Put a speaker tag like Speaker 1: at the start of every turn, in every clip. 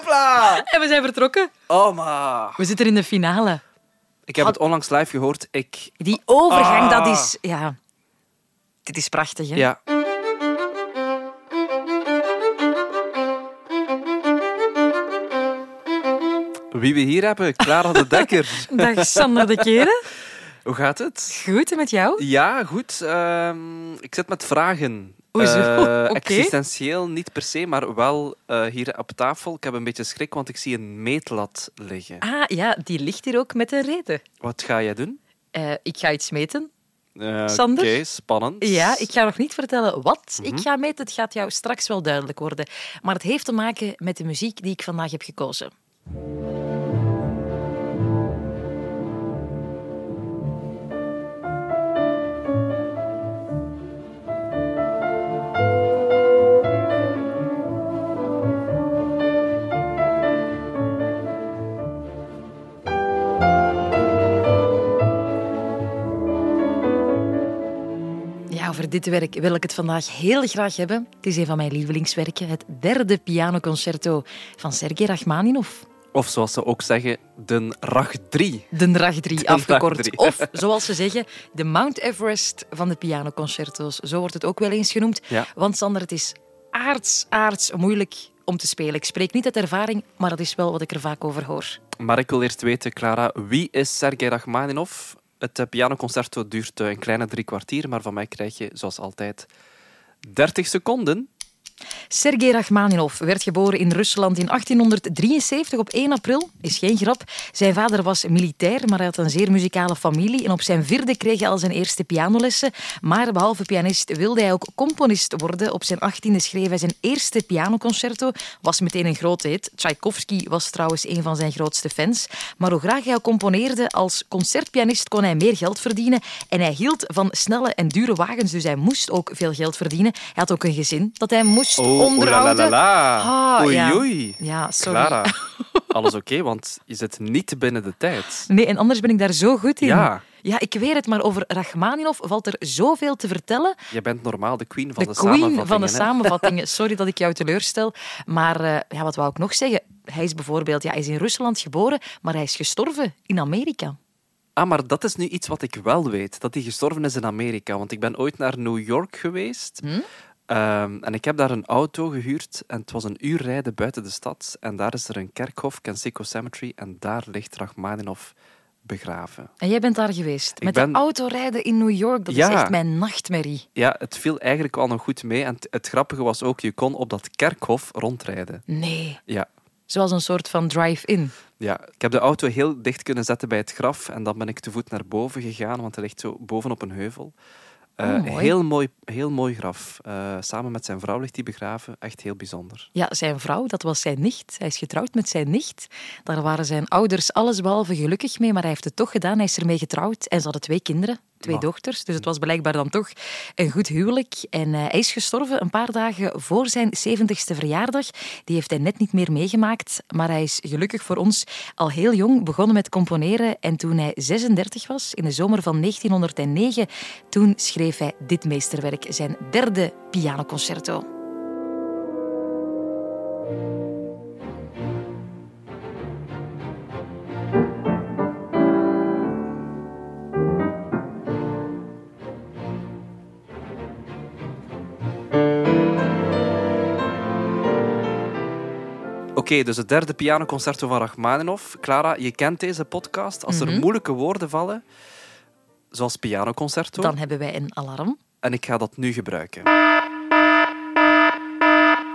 Speaker 1: Hola!
Speaker 2: En we zijn vertrokken.
Speaker 1: Oh, maar.
Speaker 2: We zitten in de finale.
Speaker 1: Ik heb het onlangs live gehoord. Ik...
Speaker 2: Die overgang,
Speaker 1: Ah.
Speaker 2: dat is... Ja. Dit is prachtig, hè?
Speaker 1: Ja. Wie we hier hebben, Clara de Dekker.
Speaker 2: Dag Sander de Keren.
Speaker 1: Hoe gaat het?
Speaker 2: Goed, en met jou?
Speaker 1: Ja, goed. Ehm, ik zit met vragen.
Speaker 2: Oezo,
Speaker 1: Eh,
Speaker 2: oké.
Speaker 1: Existentieel niet per se, maar wel eh, hier op tafel. Ik heb een beetje schrik, want ik zie een meetlat liggen.
Speaker 2: Ah, ja, die ligt hier ook met een reden.
Speaker 1: Wat ga jij doen?
Speaker 2: Eh, ik ga iets meten.
Speaker 1: Eh,
Speaker 2: Sander?
Speaker 1: Oké, spannend.
Speaker 2: Ja, ik ga nog niet vertellen wat
Speaker 1: Mhm.
Speaker 2: ik ga meten. Het gaat jou straks wel duidelijk worden. Maar het heeft te maken met de muziek die ik vandaag heb gekozen. Ja, over dit werk wil ik het vandaag heel graag hebben. Het is een van mijn lievelingswerken, het derde pianoconcerto van Sergei Rachmaninoff.
Speaker 1: Of zoals ze ook zeggen, de Rach 3.
Speaker 2: De Drag 3 afgekort.
Speaker 1: Drag 3.
Speaker 2: Of, zoals ze zeggen, de Mount Everest van de pianoconcerto's. Zo wordt het ook wel eens genoemd.
Speaker 1: Ja.
Speaker 2: Want Sander, het is aards, aards moeilijk om te spelen. Ik spreek niet uit ervaring, maar dat is wel wat ik er vaak over hoor.
Speaker 1: Maar ik wil eerst weten, Clara, wie is Sergei Rachmaninoff? Het eh, pianoconcerto duurt eh, een kleine drie kwartier, maar van mij krijg je, zoals altijd, 30 seconden.
Speaker 2: Sergei Rachmaninov werd geboren in Rusland in 1873 op 1 april. Is geen grap. Zijn vader was militair, maar hij had een zeer muzikale familie. En op zijn vierde kreeg hij al zijn eerste pianolessen. Maar behalve pianist wilde hij ook componist worden. Op zijn 18e schreef hij zijn eerste pianoconcerto. Was meteen een grote hit. Tchaikovsky was trouwens een van zijn grootste fans. Maar hoe graag hij ook componeerde, als concertpianist kon hij meer geld verdienen. En hij hield van snelle en dure wagens, dus hij moest ook veel geld verdienen. Hij had ook een gezin dat hij moest onderhouden.
Speaker 1: Oh, la.
Speaker 2: Ah,
Speaker 1: oei,
Speaker 2: ja.
Speaker 1: oei.
Speaker 2: Ja, sorry.
Speaker 1: Clara, alles oké, want je zit niet binnen de tijd.
Speaker 2: Nee, en anders ben ik daar zo goed in.
Speaker 1: Ja.
Speaker 2: Ja, ik weet het, maar over Rachmaninoff valt er zoveel te vertellen.
Speaker 1: Je bent normaal de queen van
Speaker 2: De,
Speaker 1: de,
Speaker 2: queen van
Speaker 1: samenvattingen,
Speaker 2: de
Speaker 1: hè?
Speaker 2: samenvattingen. Sorry dat ik jou teleurstel. Maar eh, ja, wat wou ik nog zeggen? Hij is bijvoorbeeld ja, hij is in Rusland geboren, maar hij is gestorven in Amerika.
Speaker 1: Ah, maar dat is nu iets wat ik wel weet. Dat hij gestorven is in Amerika. Want ik ben ooit naar New York geweest. Ehm, en ik heb daar een auto gehuurd. En het was een uur rijden buiten de stad. En daar is er een kerkhof, Kensico Cemetery. En daar ligt Rachmaninoff begraven.
Speaker 2: En jij bent daar geweest.
Speaker 1: Ik
Speaker 2: Met
Speaker 1: ben-
Speaker 2: de autorijden in New York. Dat
Speaker 1: Ja.
Speaker 2: is echt mijn nachtmerrie.
Speaker 1: Ja, het viel eigenlijk wel nog goed mee. En het, het grappige was ook, je kon op dat kerkhof rondrijden.
Speaker 2: Nee.
Speaker 1: Ja.
Speaker 2: Zoals een soort van drive-in.
Speaker 1: Ja, ik heb de auto heel dicht kunnen zetten bij het graf en dan ben ik te voet naar boven gegaan, want hij ligt zo bovenop een heuvel. Eh,
Speaker 2: Oh, mooi.
Speaker 1: Heel mooi, heel mooi graf. Eh, samen met zijn vrouw ligt hij begraven. Echt heel bijzonder.
Speaker 2: Ja, zijn vrouw, dat was zijn nicht. Hij is getrouwd met zijn nicht. Daar waren zijn ouders allesbehalve gelukkig mee, maar hij heeft het toch gedaan. Hij is ermee getrouwd en ze hadden twee kinderen, twee
Speaker 1: Maar-
Speaker 2: dochters. Dus het was blijkbaar dan toch een goed huwelijk. En eh, hij is gestorven een paar dagen voor zijn 70ste verjaardag. Die heeft hij net niet meer meegemaakt, maar hij is gelukkig voor ons al heel jong begonnen met componeren. En toen hij 36 was, in de zomer van 1909, toen schreef hij dit meesterwerk, zijn derde pianoconcerto.
Speaker 1: Oké, dus het derde pianoconcerto van Rachmaninoff. Clara, je kent deze podcast. Als
Speaker 2: Mhm.
Speaker 1: er moeilijke woorden vallen, zoals pianoconcerto,
Speaker 2: Dan hebben wij een alarm.
Speaker 1: en ik ga dat nu gebruiken.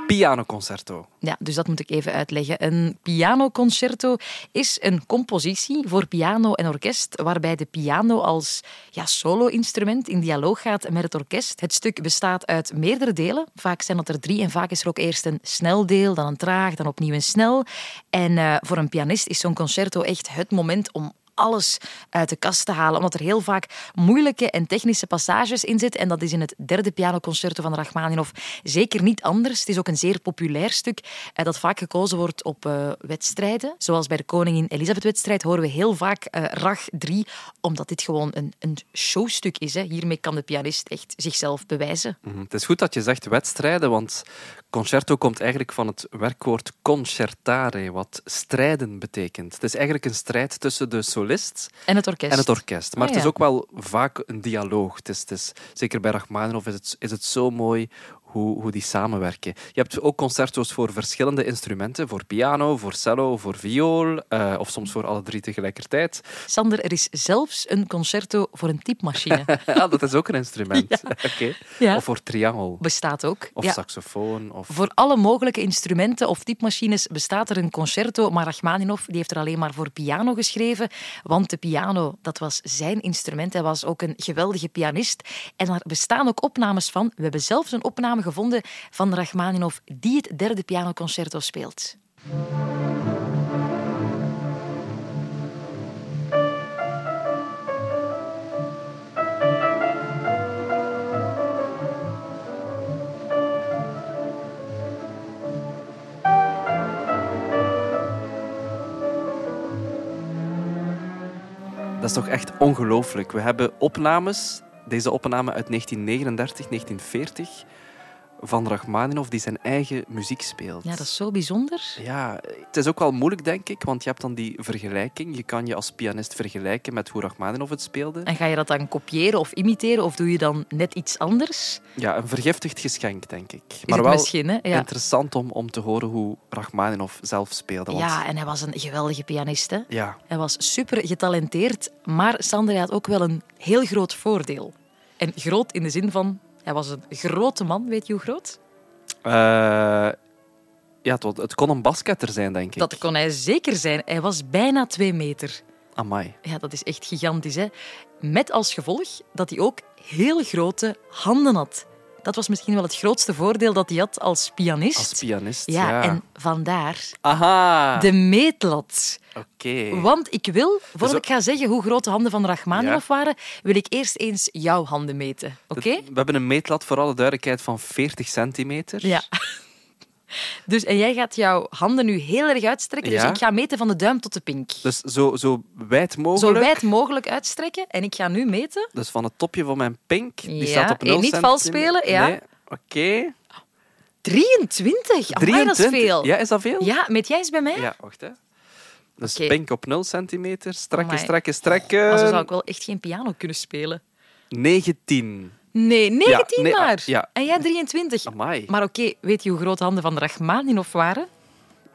Speaker 1: Pianoconcerto.
Speaker 2: Ja, dus dat moet ik even uitleggen. Een pianoconcerto is een compositie voor piano en orkest, waarbij de piano als ja, solo-instrument in dialoog gaat met het orkest. Het stuk bestaat uit meerdere delen. Vaak zijn dat er drie en vaak is er ook eerst een snel deel, dan een traag, dan opnieuw een snel. En eh, voor een pianist is zo'n concerto echt het moment om alles uit de kast te halen, omdat er heel vaak moeilijke en technische passages in zitten. En dat is in het derde pianoconcerto van Rachmaninoff zeker niet anders. Het is ook een zeer populair stuk eh, dat vaak gekozen wordt op eh, wedstrijden. Zoals bij de Koningin Elisabeth-wedstrijd horen we heel vaak eh, Rach 3, omdat dit gewoon een, een showstuk is. Hè. Hiermee kan de pianist echt zichzelf bewijzen.
Speaker 1: Mhm. Het is goed dat je zegt wedstrijden, want Concerto komt eigenlijk van het werkwoord concertare, wat strijden betekent. Het is eigenlijk een strijd tussen de solist
Speaker 2: En het orkest.
Speaker 1: en het orkest. Maar
Speaker 2: Ah,
Speaker 1: het is
Speaker 2: ja.
Speaker 1: ook wel vaak een dialoog. Het is, het is, zeker bij Rachmaninoff is het, is het zo mooi hoe, hoe die samenwerken. Je hebt ook concerto's voor verschillende instrumenten. Voor piano, voor cello, voor viool. eh, of soms voor alle drie tegelijkertijd.
Speaker 2: Sander, er is zelfs een concerto voor een typemachine.
Speaker 1: Ja, dat is ook een instrument. Oké.
Speaker 2: Ja.
Speaker 1: Of voor triangel.
Speaker 2: Bestaat ook.
Speaker 1: Of
Speaker 2: Ja.
Speaker 1: saxofoon. Of...
Speaker 2: Voor alle mogelijke instrumenten of typemachines bestaat er een concerto, maar Rachmaninoff die heeft er alleen maar voor piano geschreven, want de piano, dat was zijn instrument. Hij was ook een geweldige pianist en daar bestaan ook opnames van. We hebben zelfs een opname gevonden van Rachmaninoff die het derde pianoconcerto speelt.
Speaker 1: Dat is toch echt ongelooflijk. We hebben opnames, deze opname uit 1939, 1940, van Rachmaninoff die zijn eigen muziek speelt.
Speaker 2: Ja, dat is zo bijzonder.
Speaker 1: Ja, het is ook wel moeilijk, denk ik, want je hebt dan die vergelijking. Je kan je als pianist vergelijken met hoe Rachmaninoff het speelde.
Speaker 2: En ga je dat dan kopiëren of imiteren of doe je dan net iets anders?
Speaker 1: Ja, een vergiftigd geschenk, denk ik.
Speaker 2: Is
Speaker 1: maar
Speaker 2: het
Speaker 1: wel
Speaker 2: misschien, hè? Ja.
Speaker 1: interessant om, om te horen hoe Rachmaninoff zelf speelde. Want,
Speaker 2: ja, en hij was een geweldige pianist, hè?
Speaker 1: ja,
Speaker 2: Hij was super getalenteerd, maar Sander hij had ook wel een heel groot voordeel. En groot in de zin van, hij was een grote man, weet je hoe groot?
Speaker 1: Eh, ja het, wa- het kon een basketter zijn, denk ik.
Speaker 2: Dat kon hij zeker zijn. Hij was bijna twee meter.
Speaker 1: Amai.
Speaker 2: Ja, dat is echt gigantisch, hè? Met als gevolg dat hij ook heel grote handen had. Dat was misschien wel het grootste voordeel dat hij had als pianist.
Speaker 1: Als pianist, ja.
Speaker 2: ja, en vandaar
Speaker 1: Aha,
Speaker 2: de meetlat.
Speaker 1: oké.
Speaker 2: Want ik wil, voordat
Speaker 1: Dus-
Speaker 2: ik ga zeggen hoe groot de handen van Rachmaninoff waren, wil ik eerst eens jouw handen meten. Oké?
Speaker 1: Dit- We hebben een meetlat voor alle duidelijkheid van 40 centimeter.
Speaker 2: Ja. Dus en jij gaat jouw handen nu heel erg uitstrekken.
Speaker 1: Ja.
Speaker 2: Dus ik ga meten van de duim tot de pink.
Speaker 1: Dus zo, zo wijd
Speaker 2: Zo
Speaker 1: mogelijk.
Speaker 2: wijd mogelijk uitstrekken. En ik ga nu meten.
Speaker 1: Dus van het topje van mijn pink, die
Speaker 2: Ja,
Speaker 1: staat op
Speaker 2: eh,
Speaker 1: 0
Speaker 2: niet vals
Speaker 1: centimeter.
Speaker 2: spelen, ja.
Speaker 1: Nee, Oké.
Speaker 2: 23. Amai, dat is
Speaker 1: 23.
Speaker 2: veel.
Speaker 1: Ja, is dat veel?
Speaker 2: Ja, meet jij eens bij mij?
Speaker 1: Ja, wacht hè. Dus
Speaker 2: Oké.
Speaker 1: pink op 0 centimeter. Strekken,
Speaker 2: Amai.
Speaker 1: strekken,
Speaker 2: Maar Oh, zo
Speaker 1: strekken.
Speaker 2: zou ik wel echt geen piano kunnen spelen.
Speaker 1: 19.
Speaker 2: Nee, 19
Speaker 1: nee, ah,
Speaker 2: maar.
Speaker 1: ja.
Speaker 2: En jij 23.
Speaker 1: Amai.
Speaker 2: Maar oké, weet je hoe groot de handen van Rachmaninoff waren?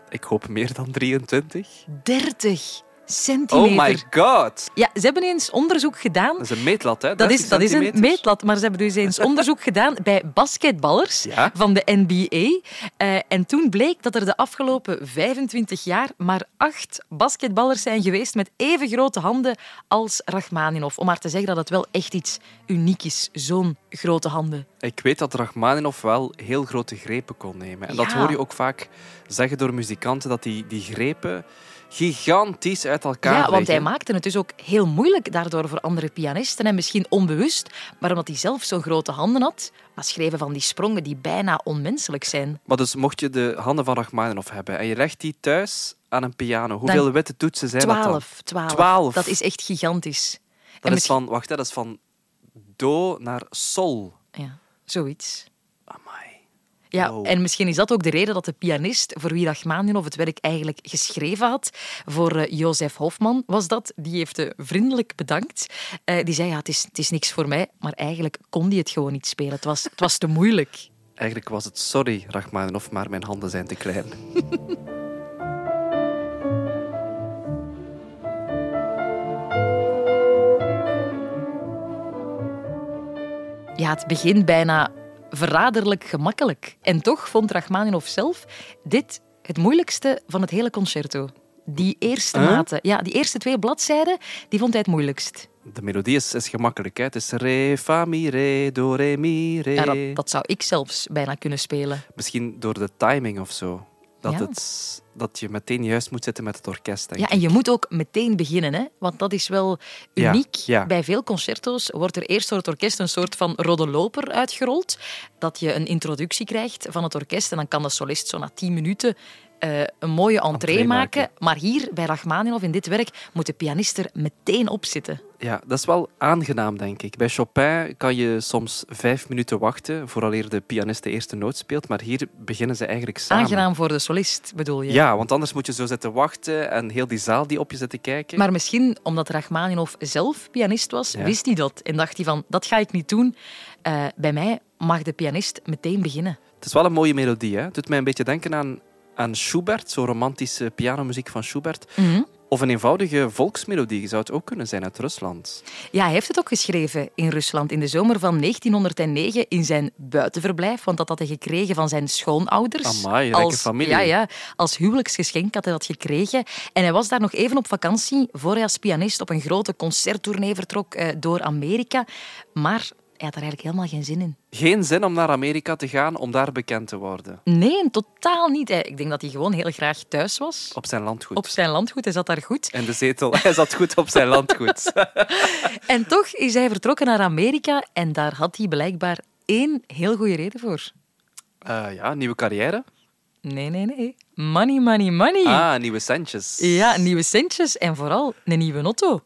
Speaker 1: Ik hoop meer dan 23.
Speaker 2: 30 centimeter.
Speaker 1: Oh my god.
Speaker 2: Ja, ze hebben eens onderzoek gedaan.
Speaker 1: Dat is een meetlat, hè?
Speaker 2: Dat
Speaker 1: 30
Speaker 2: is, dat is een
Speaker 1: centimeter.
Speaker 2: meetlat, maar ze hebben dus eens onderzoek gedaan bij basketballers
Speaker 1: Ja.
Speaker 2: van de NBA. Eh, en toen bleek dat er de afgelopen 25 jaar maar acht basketballers zijn geweest met even grote handen als Rachmaninoff. Om maar te zeggen dat het wel echt iets uniek is, zo'n grote handen.
Speaker 1: Ik weet dat Rachmaninoff wel heel grote grepen kon nemen. En dat
Speaker 2: Ja.
Speaker 1: hoor je ook vaak zeggen door muzikanten, dat die, die grepen gigantisch uit elkaar
Speaker 2: Ja, want hij
Speaker 1: liggen.
Speaker 2: maakte het dus ook heel moeilijk daardoor voor andere pianisten. En misschien onbewust, maar omdat hij zelf zo'n grote handen had, maar schreven van die sprongen die bijna onmenselijk zijn.
Speaker 1: Maar dus mocht je de handen van Rachmaninoff hebben en je legt die thuis aan een piano, hoeveel witte toetsen zijn dat dan?
Speaker 2: Twaalf, twaalf.
Speaker 1: Twaalf.
Speaker 2: Dat is echt gigantisch.
Speaker 1: Dat is
Speaker 2: misschien-
Speaker 1: van, wacht, hè, dat is van do naar sol.
Speaker 2: Ja, zoiets.
Speaker 1: Amai.
Speaker 2: Ja,
Speaker 1: Wow.
Speaker 2: en misschien is dat ook de reden dat de pianist voor wie Rachmaninoff het werk eigenlijk geschreven had, voor eh, Jozef Hofman was dat, die heeft eh, vriendelijk bedankt. Eh, die zei, ja, het is, het is niks voor mij, maar eigenlijk kon die het gewoon niet spelen. Het was, het was te moeilijk.
Speaker 1: Eigenlijk was het sorry, Rachmaninoff, maar mijn handen zijn te klein.
Speaker 2: Ja, het begint bijna verraderlijk gemakkelijk. En toch vond Rachmaninoff zelf dit het moeilijkste van het hele concerto. Die eerste
Speaker 1: Huh?
Speaker 2: maten. Ja, die eerste twee bladzijden, die vond hij het moeilijkst.
Speaker 1: De melodie is, is gemakkelijk, hè? Het is re, fa, mi, re, do, re, mi, re.
Speaker 2: Ja, dat, dat zou ik zelfs bijna kunnen spelen.
Speaker 1: Misschien door de timing of zo. Dat,
Speaker 2: Ja.
Speaker 1: het, dat je meteen juist moet zitten met het orkest. Denk
Speaker 2: Ja,
Speaker 1: ik.
Speaker 2: en je moet ook meteen beginnen, hè? want dat is wel
Speaker 1: Ja,
Speaker 2: uniek.
Speaker 1: ja.
Speaker 2: Bij veel concerto's wordt er eerst door het orkest een soort van rode loper uitgerold. Dat je een introductie krijgt van het orkest en dan kan de solist zo na tien minuten eh, een mooie entree
Speaker 1: Entree maken.
Speaker 2: maken. Maar hier bij Rachmaninoff in dit werk moet de pianist er meteen op zitten.
Speaker 1: ja. Ja, dat is wel aangenaam, denk ik. Bij Chopin kan je soms vijf minuten wachten vooraleer de pianist de eerste noot speelt, maar hier beginnen ze eigenlijk samen.
Speaker 2: Aangenaam voor de solist, bedoel je?
Speaker 1: Ja, want anders moet je zo zitten wachten en heel die zaal die op je zit te kijken.
Speaker 2: Maar misschien omdat Rachmaninoff zelf pianist was,
Speaker 1: Ja.
Speaker 2: wist hij dat en dacht hij van, dat ga ik niet doen. Eh, bij mij mag de pianist meteen beginnen.
Speaker 1: Het is wel een mooie melodie. Hè? Het doet mij een beetje denken aan, aan Schubert, zo romantische pianomuziek van Schubert.
Speaker 2: Mhm.
Speaker 1: Of een eenvoudige volksmelodie zou het ook kunnen zijn uit Rusland.
Speaker 2: Ja, hij heeft het ook geschreven in Rusland in de zomer van 1909 in zijn buitenverblijf, want dat had hij gekregen van zijn schoonouders.
Speaker 1: Amai, rijke familie.
Speaker 2: Ja, ja, als huwelijksgeschenk had hij dat gekregen. En hij was daar nog even op vakantie voor hij als pianist op een grote concerttournee vertrok eh, door Amerika. Maar hij had daar eigenlijk helemaal geen zin in.
Speaker 1: Geen zin om naar Amerika te gaan om daar bekend te worden.
Speaker 2: Nee, totaal niet. Hij- Ik denk dat hij gewoon heel graag thuis was.
Speaker 1: Op zijn landgoed.
Speaker 2: Op zijn landgoed, hij zat daar goed.
Speaker 1: En de zetel. Hij zat goed op zijn landgoed.
Speaker 2: En toch is hij vertrokken naar Amerika en daar had hij blijkbaar één heel goede reden voor.
Speaker 1: Eh, ja, nieuwe carrière.
Speaker 2: Nee, nee, nee. Money, money, money.
Speaker 1: Ah, nieuwe centjes.
Speaker 2: Ja, nieuwe centjes en vooral een nieuwe auto.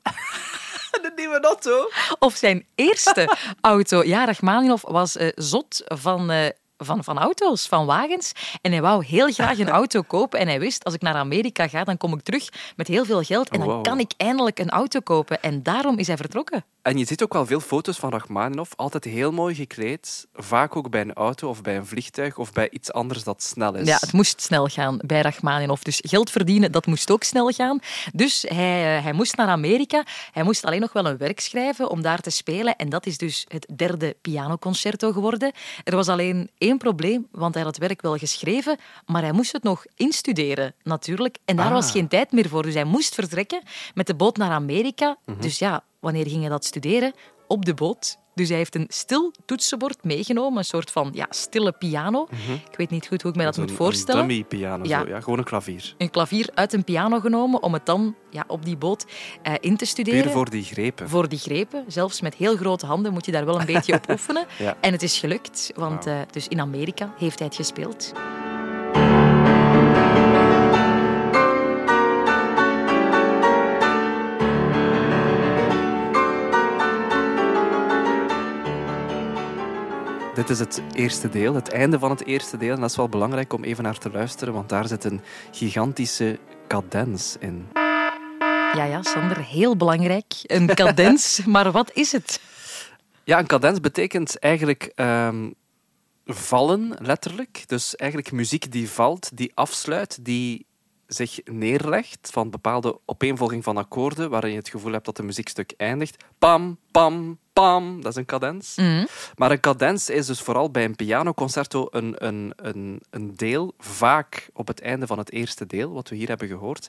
Speaker 1: Een nieuwe auto.
Speaker 2: Of zijn eerste auto. Ja, Rachmaninoff was eh, zot van, eh, van, van auto's, van wagens. En hij wou heel graag een auto kopen. En hij wist, als ik naar Amerika ga, dan kom ik terug met heel veel geld. En dan
Speaker 1: Wow.
Speaker 2: kan ik eindelijk een auto kopen. En daarom is hij vertrokken.
Speaker 1: En je ziet ook wel veel foto's van Rachmaninoff. Altijd heel mooi gekleed. Vaak ook bij een auto of bij een vliegtuig of bij iets anders dat snel is.
Speaker 2: Ja, het moest snel gaan bij Rachmaninoff. Dus geld verdienen, dat moest ook snel gaan. Dus hij, eh, hij moest naar Amerika. Hij moest alleen nog wel een werk schrijven om daar te spelen. En dat is dus het derde pianoconcerto geworden. Er was alleen één probleem, want hij had het werk wel geschreven, maar hij moest het nog instuderen, natuurlijk. En daar
Speaker 1: Ah.
Speaker 2: was geen tijd meer voor. Dus hij moest vertrekken met de boot naar Amerika. Dus ja, wanneer ging hij dat studeren? Op de boot. Dus hij heeft een stil toetsenbord meegenomen, een soort van ja, stille piano. Ik weet niet goed hoe ik mij dat
Speaker 1: Zo'n-
Speaker 2: moet voorstellen.
Speaker 1: Een dummy piano.
Speaker 2: Ja.
Speaker 1: Zo, ja. Gewoon een klavier.
Speaker 2: Een klavier uit een piano genomen om het dan ja, op die boot eh, in te studeren.
Speaker 1: Puur voor die grepen.
Speaker 2: Voor die grepen. Zelfs met heel grote handen moet je daar wel een beetje op oefenen.
Speaker 1: Ja.
Speaker 2: En het is gelukt, want eh, dus in Amerika heeft hij het gespeeld.
Speaker 1: Dit is het eerste deel, het einde van het eerste deel. En dat is wel belangrijk om even naar te luisteren, want daar zit een gigantische cadens in.
Speaker 2: Ja, ja, Sander, heel belangrijk. Een cadens, maar wat is het?
Speaker 1: Ja, een cadens betekent eigenlijk ehm, vallen, letterlijk. Dus eigenlijk muziek die valt, die afsluit, die zich neerlegt van bepaalde opeenvolging van akkoorden, waarin je het gevoel hebt dat de muziekstuk eindigt. Pam, pam, pam, dat is een cadens.
Speaker 2: Mhm.
Speaker 1: Maar een cadens is dus vooral bij een pianoconcerto een, een, een, een deel, vaak op het einde van het eerste deel, wat we hier hebben gehoord,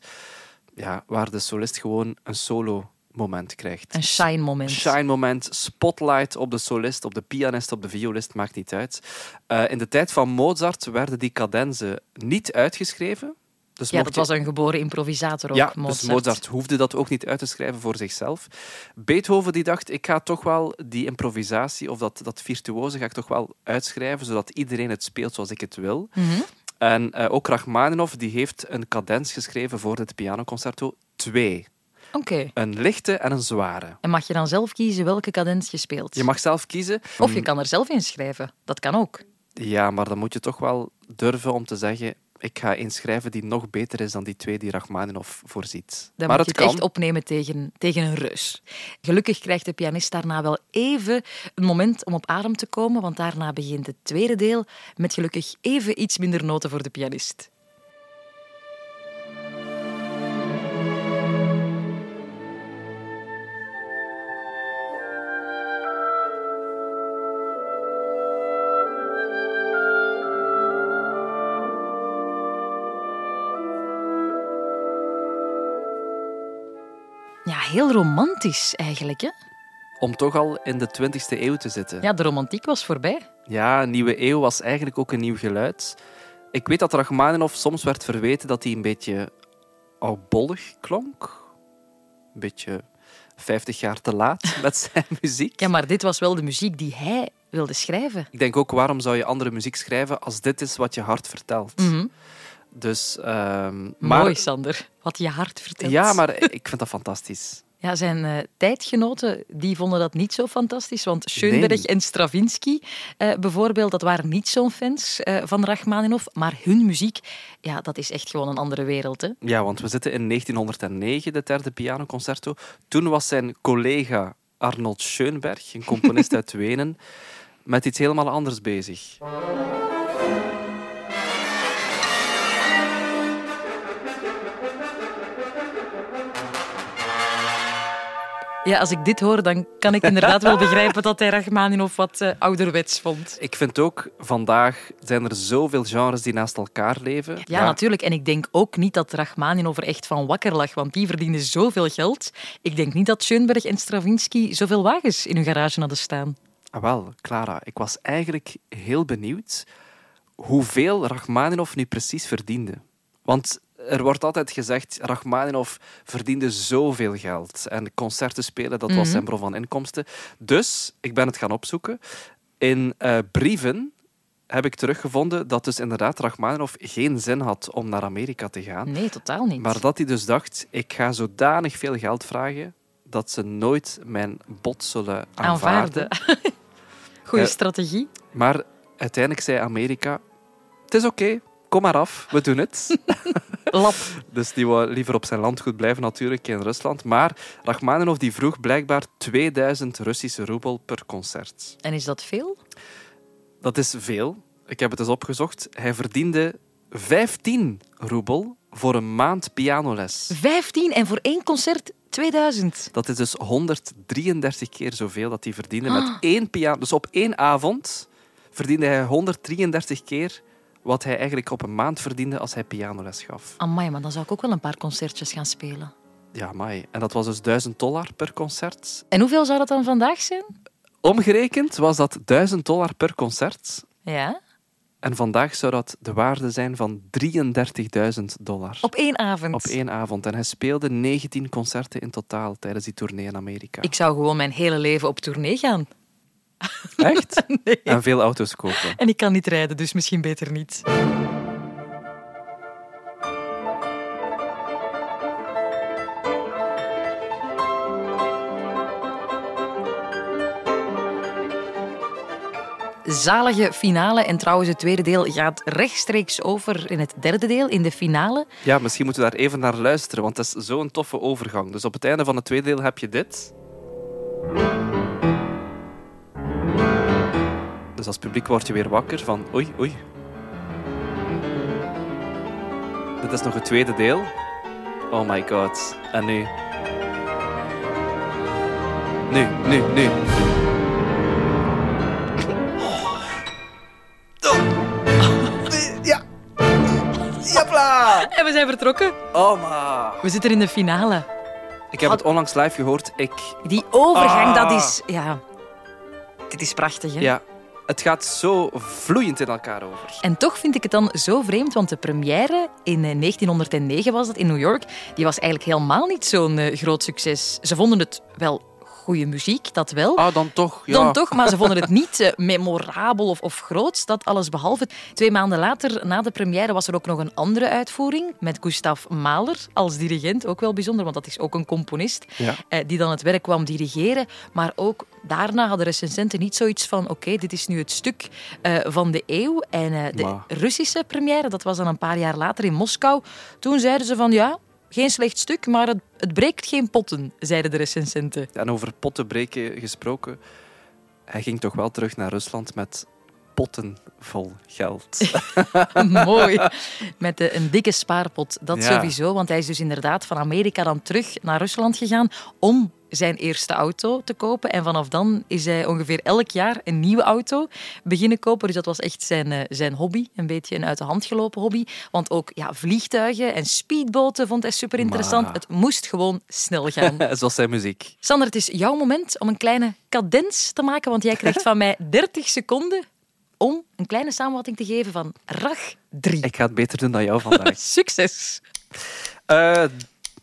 Speaker 1: ja, waar de solist gewoon een solo moment krijgt.
Speaker 2: Een shine moment.
Speaker 1: Shine moment, spotlight op de solist, op de pianist, op de violist, maakt niet uit. Eh, in de tijd van Mozart werden die cadenzen niet uitgeschreven. Dus
Speaker 2: Ja,
Speaker 1: mocht
Speaker 2: dat
Speaker 1: je-
Speaker 2: was een geboren improvisator ook,
Speaker 1: ja,
Speaker 2: Mozart.
Speaker 1: dus Mozart hoefde dat ook niet uit te schrijven voor zichzelf. Beethoven die dacht, ik ga toch wel die improvisatie of dat, dat virtuoze ga ik toch wel uitschrijven, zodat iedereen het speelt zoals ik het wil.
Speaker 2: Mhm.
Speaker 1: En eh, ook Rachmaninoff die heeft een cadens geschreven voor dit pianoconcerto. Twee.
Speaker 2: Oké.
Speaker 1: Een lichte en een zware.
Speaker 2: En mag je dan zelf kiezen welke cadens je speelt?
Speaker 1: Je mag zelf kiezen.
Speaker 2: Of je kan er zelf inschrijven. Dat kan ook.
Speaker 1: Ja, maar dan moet je toch wel durven om te zeggen... Ik ga inschrijven die nog beter is dan die twee die Rachmaninoff voorziet.
Speaker 2: Dan
Speaker 1: maar
Speaker 2: moet
Speaker 1: het
Speaker 2: je het
Speaker 1: kan.
Speaker 2: echt opnemen tegen, tegen een reus. Gelukkig krijgt de pianist daarna wel even een moment om op adem te komen, want daarna begint het tweede deel met gelukkig even iets minder noten voor de pianist. Ja, heel romantisch eigenlijk. Hè?
Speaker 1: Om toch al in de 20e eeuw te zitten.
Speaker 2: Ja, de romantiek was voorbij.
Speaker 1: Ja, een nieuwe eeuw was eigenlijk ook een nieuw geluid. Ik weet dat Rachmaninoff soms werd verweten dat hij een beetje oudbollig klonk. Een beetje 50 jaar te laat met zijn muziek.
Speaker 2: Ja, maar dit was wel de muziek die hij wilde schrijven.
Speaker 1: Ik denk ook, waarom zou je andere muziek schrijven als dit is wat je hart vertelt?
Speaker 2: Mhm.
Speaker 1: Dus, ehm, maar,
Speaker 2: Mooi, Sander. Wat je hart vertelt.
Speaker 1: Ja, maar ik vind dat fantastisch.
Speaker 2: Ja, zijn eh, tijdgenoten die vonden dat niet zo fantastisch. Want Schoenberg
Speaker 1: Nee.
Speaker 2: en Stravinsky eh, bijvoorbeeld, dat waren niet zo'n fans eh, van Rachmaninoff. Maar hun muziek, ja, dat is echt gewoon een andere wereld. Hè?
Speaker 1: Ja, want we zitten in 1909, de derde pianoconcerto. Toen was zijn collega Arnold Schoenberg, een componist uit Wenen, met iets helemaal anders bezig.
Speaker 2: Ja, als ik dit hoor, dan kan ik inderdaad wel begrijpen dat hij Rachmaninoff wat eh, ouderwets vond.
Speaker 1: Ik vind ook, vandaag zijn er zoveel genres die naast elkaar leven.
Speaker 2: Ja, natuurlijk. En ik denk ook niet dat Rachmaninoff er echt van wakker lag, want die verdiende zoveel geld. Ik denk niet dat Schoenberg en Stravinsky zoveel wagens in hun garage hadden staan.
Speaker 1: Ah, wel, Clara, ik was eigenlijk heel benieuwd hoeveel Rachmaninoff nu precies verdiende. Want er wordt altijd gezegd, Rachmaninoff verdiende zoveel geld. En concerten spelen, dat was zijn bron van inkomsten. Dus, ik ben het gaan opzoeken. In eh, brieven heb ik teruggevonden dat dus inderdaad Rachmaninoff geen zin had om naar Amerika te gaan.
Speaker 2: Nee, totaal niet.
Speaker 1: Maar dat hij dus dacht, ik ga zodanig veel geld vragen dat ze nooit mijn bod zullen aanvaarden.
Speaker 2: Goeie
Speaker 1: Eh,
Speaker 2: strategie.
Speaker 1: Maar uiteindelijk zei Amerika: Het is oké, kom maar af, we doen het.
Speaker 2: Lap.
Speaker 1: dus die wou liever op zijn landgoed blijven, natuurlijk in Rusland. Maar Rachmaninoff die vroeg blijkbaar 2000 Russische roebel per concert.
Speaker 2: En is dat veel?
Speaker 1: Dat is veel. Ik heb het eens opgezocht. Hij verdiende 15 roebel voor een maand pianoles.
Speaker 2: 15 en voor één concert 2000.
Speaker 1: Dat is dus 133 keer zoveel dat hij verdiende
Speaker 2: Ah.
Speaker 1: met één piano. Dus op één avond verdiende hij 133 keer wat hij eigenlijk op een maand verdiende als hij pianoles gaf.
Speaker 2: Amai, maar dan zou ik ook wel een paar concertjes gaan spelen.
Speaker 1: Ja, mai. En dat was dus 1000 dollar per concert.
Speaker 2: En hoeveel zou dat dan vandaag zijn?
Speaker 1: Omgerekend was dat 1000 dollar per concert.
Speaker 2: Ja,
Speaker 1: En vandaag zou dat de waarde zijn van 33.000 dollar.
Speaker 2: op één avond.
Speaker 1: Op één avond. En hij speelde 19 concerten in totaal tijdens die tournee in Amerika.
Speaker 2: Ik zou gewoon mijn hele leven op tournee gaan.
Speaker 1: Echt?
Speaker 2: Nee.
Speaker 1: En veel auto's kopen.
Speaker 2: En ik kan niet rijden, dus misschien beter niet. Zalige finale. En trouwens, het tweede deel gaat rechtstreeks over in het derde deel, in de finale.
Speaker 1: Ja, misschien moeten we daar even naar luisteren, want dat is zo'n toffe overgang. Dus op het einde van het tweede deel heb je dit. Dus als publiek word je weer wakker van oei, oei. Dit is nog het tweede deel. Oh my god. En nu? Nu, nu, nu. Oh. Ja. Japla!
Speaker 2: En we zijn vertrokken.
Speaker 1: Oma.
Speaker 2: We zitten in de finale.
Speaker 1: Oh, Ik heb het onlangs live gehoord. Ik,
Speaker 2: Die overgang,
Speaker 1: Ah.
Speaker 2: dat is... Ja, dit is prachtig, hè?
Speaker 1: ja, het gaat zo vloeiend in elkaar over.
Speaker 2: En toch vind ik het dan zo vreemd, want de première in eh, 1909 was dat in New York. Die was eigenlijk helemaal niet zo'n eh, groot succes. Ze vonden het wel goede muziek, dat wel.
Speaker 1: Ah, dan toch. Ja.
Speaker 2: Dan toch, maar ze vonden het niet eh, memorabel of, of groots, dat alles behalve. Twee maanden later, na de première, was er ook nog een andere uitvoering met Gustav Mahler als dirigent. Ook wel bijzonder, want dat is ook een componist
Speaker 1: Ja.
Speaker 2: eh, die dan het werk kwam dirigeren. Maar ook daarna hadden recensenten niet zoiets van: oké, dit is nu het stuk eh, van de eeuw. En eh, de
Speaker 1: Maar-
Speaker 2: Russische première, dat was dan een paar jaar later in Moskou. Toen zeiden ze van ja. Geen slecht stuk, maar het, het breekt geen potten, zeiden de recensenten.
Speaker 1: En over potten breken gesproken. Hij ging toch wel terug naar Rusland met potten vol geld.
Speaker 2: Mooi. Met eh, een dikke spaarpot, dat
Speaker 1: Ja.
Speaker 2: sowieso. Want hij is dus inderdaad van Amerika dan terug naar Rusland gegaan om zijn eerste auto te kopen. En vanaf dan is hij ongeveer elk jaar een nieuwe auto beginnen kopen. Dus dat was echt zijn, eh, zijn hobby. Een beetje een uit de hand gelopen hobby. Want ook ja, vliegtuigen en speedboten vond hij super interessant.
Speaker 1: Maar.
Speaker 2: Het moest gewoon snel gaan.
Speaker 1: Zoals zijn muziek.
Speaker 2: Sander, het is jouw moment om een kleine cadens te maken, want jij krijgt van mij 30 seconden om een kleine samenvatting te geven van RAG 3.
Speaker 1: Ik ga het beter doen dan jou vandaag.
Speaker 2: Succes!
Speaker 1: Eh,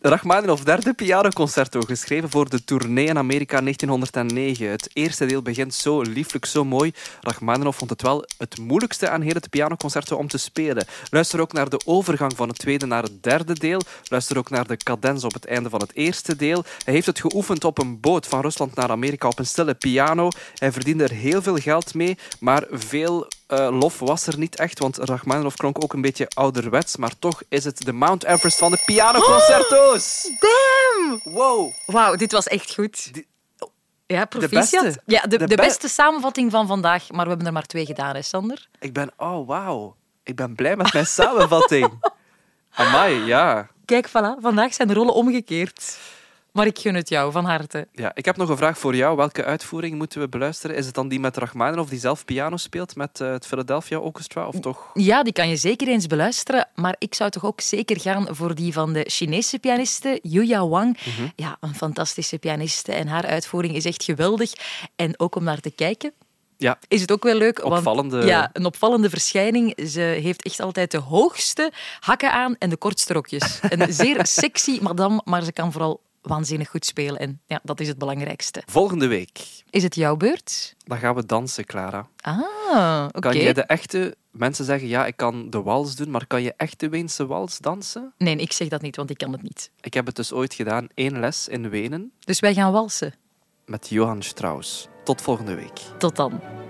Speaker 1: Rachmaninoff derde pianoconcerto, geschreven voor de tournee in Amerika 1909. Het eerste deel begint zo lieflijk, zo mooi. Rachmaninoff vond het wel het moeilijkste aan heel het pianoconcerto om te spelen. Luister ook naar de overgang van het tweede naar het derde deel. Luister ook naar de cadens op het einde van het eerste deel. Hij heeft het geoefend op een boot van Rusland naar Amerika op een stille piano. Hij verdiende er heel veel geld mee, maar veel eh, lof was er niet echt, want Rachmaninoff klonk ook een beetje ouderwets, maar toch is het de Mount Everest van de pianoconcerto's.
Speaker 2: Damn!
Speaker 1: Wow.
Speaker 2: Wauw, dit was echt goed.
Speaker 1: Di-
Speaker 2: Ja, proficiat.
Speaker 1: beste.
Speaker 2: Ja, de,
Speaker 1: De
Speaker 2: de
Speaker 1: be-
Speaker 2: beste samenvatting van vandaag, maar we hebben er maar twee gedaan, hè, Sander?
Speaker 1: Ik ben, oh wauw. Ik ben blij met mijn samenvatting. Amai, ja.
Speaker 2: Kijk, voilà, vandaag zijn de rollen omgekeerd. Maar ik gun het jou, van harte.
Speaker 1: ja. Ik heb nog een vraag voor jou. Welke uitvoering moeten we beluisteren? Is het dan die met Rachmaninoff die zelf piano speelt met eh, het Philadelphia Orchestra? Of toch?
Speaker 2: Ja, die kan je zeker eens beluisteren, maar ik zou toch ook zeker gaan voor die van de Chinese pianiste Yuya Wang.
Speaker 1: Mhm.
Speaker 2: Ja, een fantastische pianiste en haar uitvoering is echt geweldig. En ook om naar te kijken,
Speaker 1: Ja,
Speaker 2: is het ook wel leuk. Want,
Speaker 1: Opvallende-
Speaker 2: Ja, een opvallende verschijning. Ze heeft echt altijd de hoogste hakken aan en de kortste rokjes. Een zeer sexy madame, maar ze kan vooral waanzinnig goed spelen. En ja, dat is het belangrijkste.
Speaker 1: volgende week.
Speaker 2: Is het jouw beurt?
Speaker 1: Dan gaan we dansen, Clara.
Speaker 2: Ah, oké.
Speaker 1: Kan jij de echte... Mensen zeggen, ja, ik kan de wals doen, maar kan je echt de Weense wals dansen?
Speaker 2: Nee, ik zeg dat niet, want ik kan het niet.
Speaker 1: Ik heb het dus ooit gedaan, één les in Wenen,
Speaker 2: Dus wij gaan walsen.
Speaker 1: met Johan Strauss. Tot volgende week.
Speaker 2: Tot dan.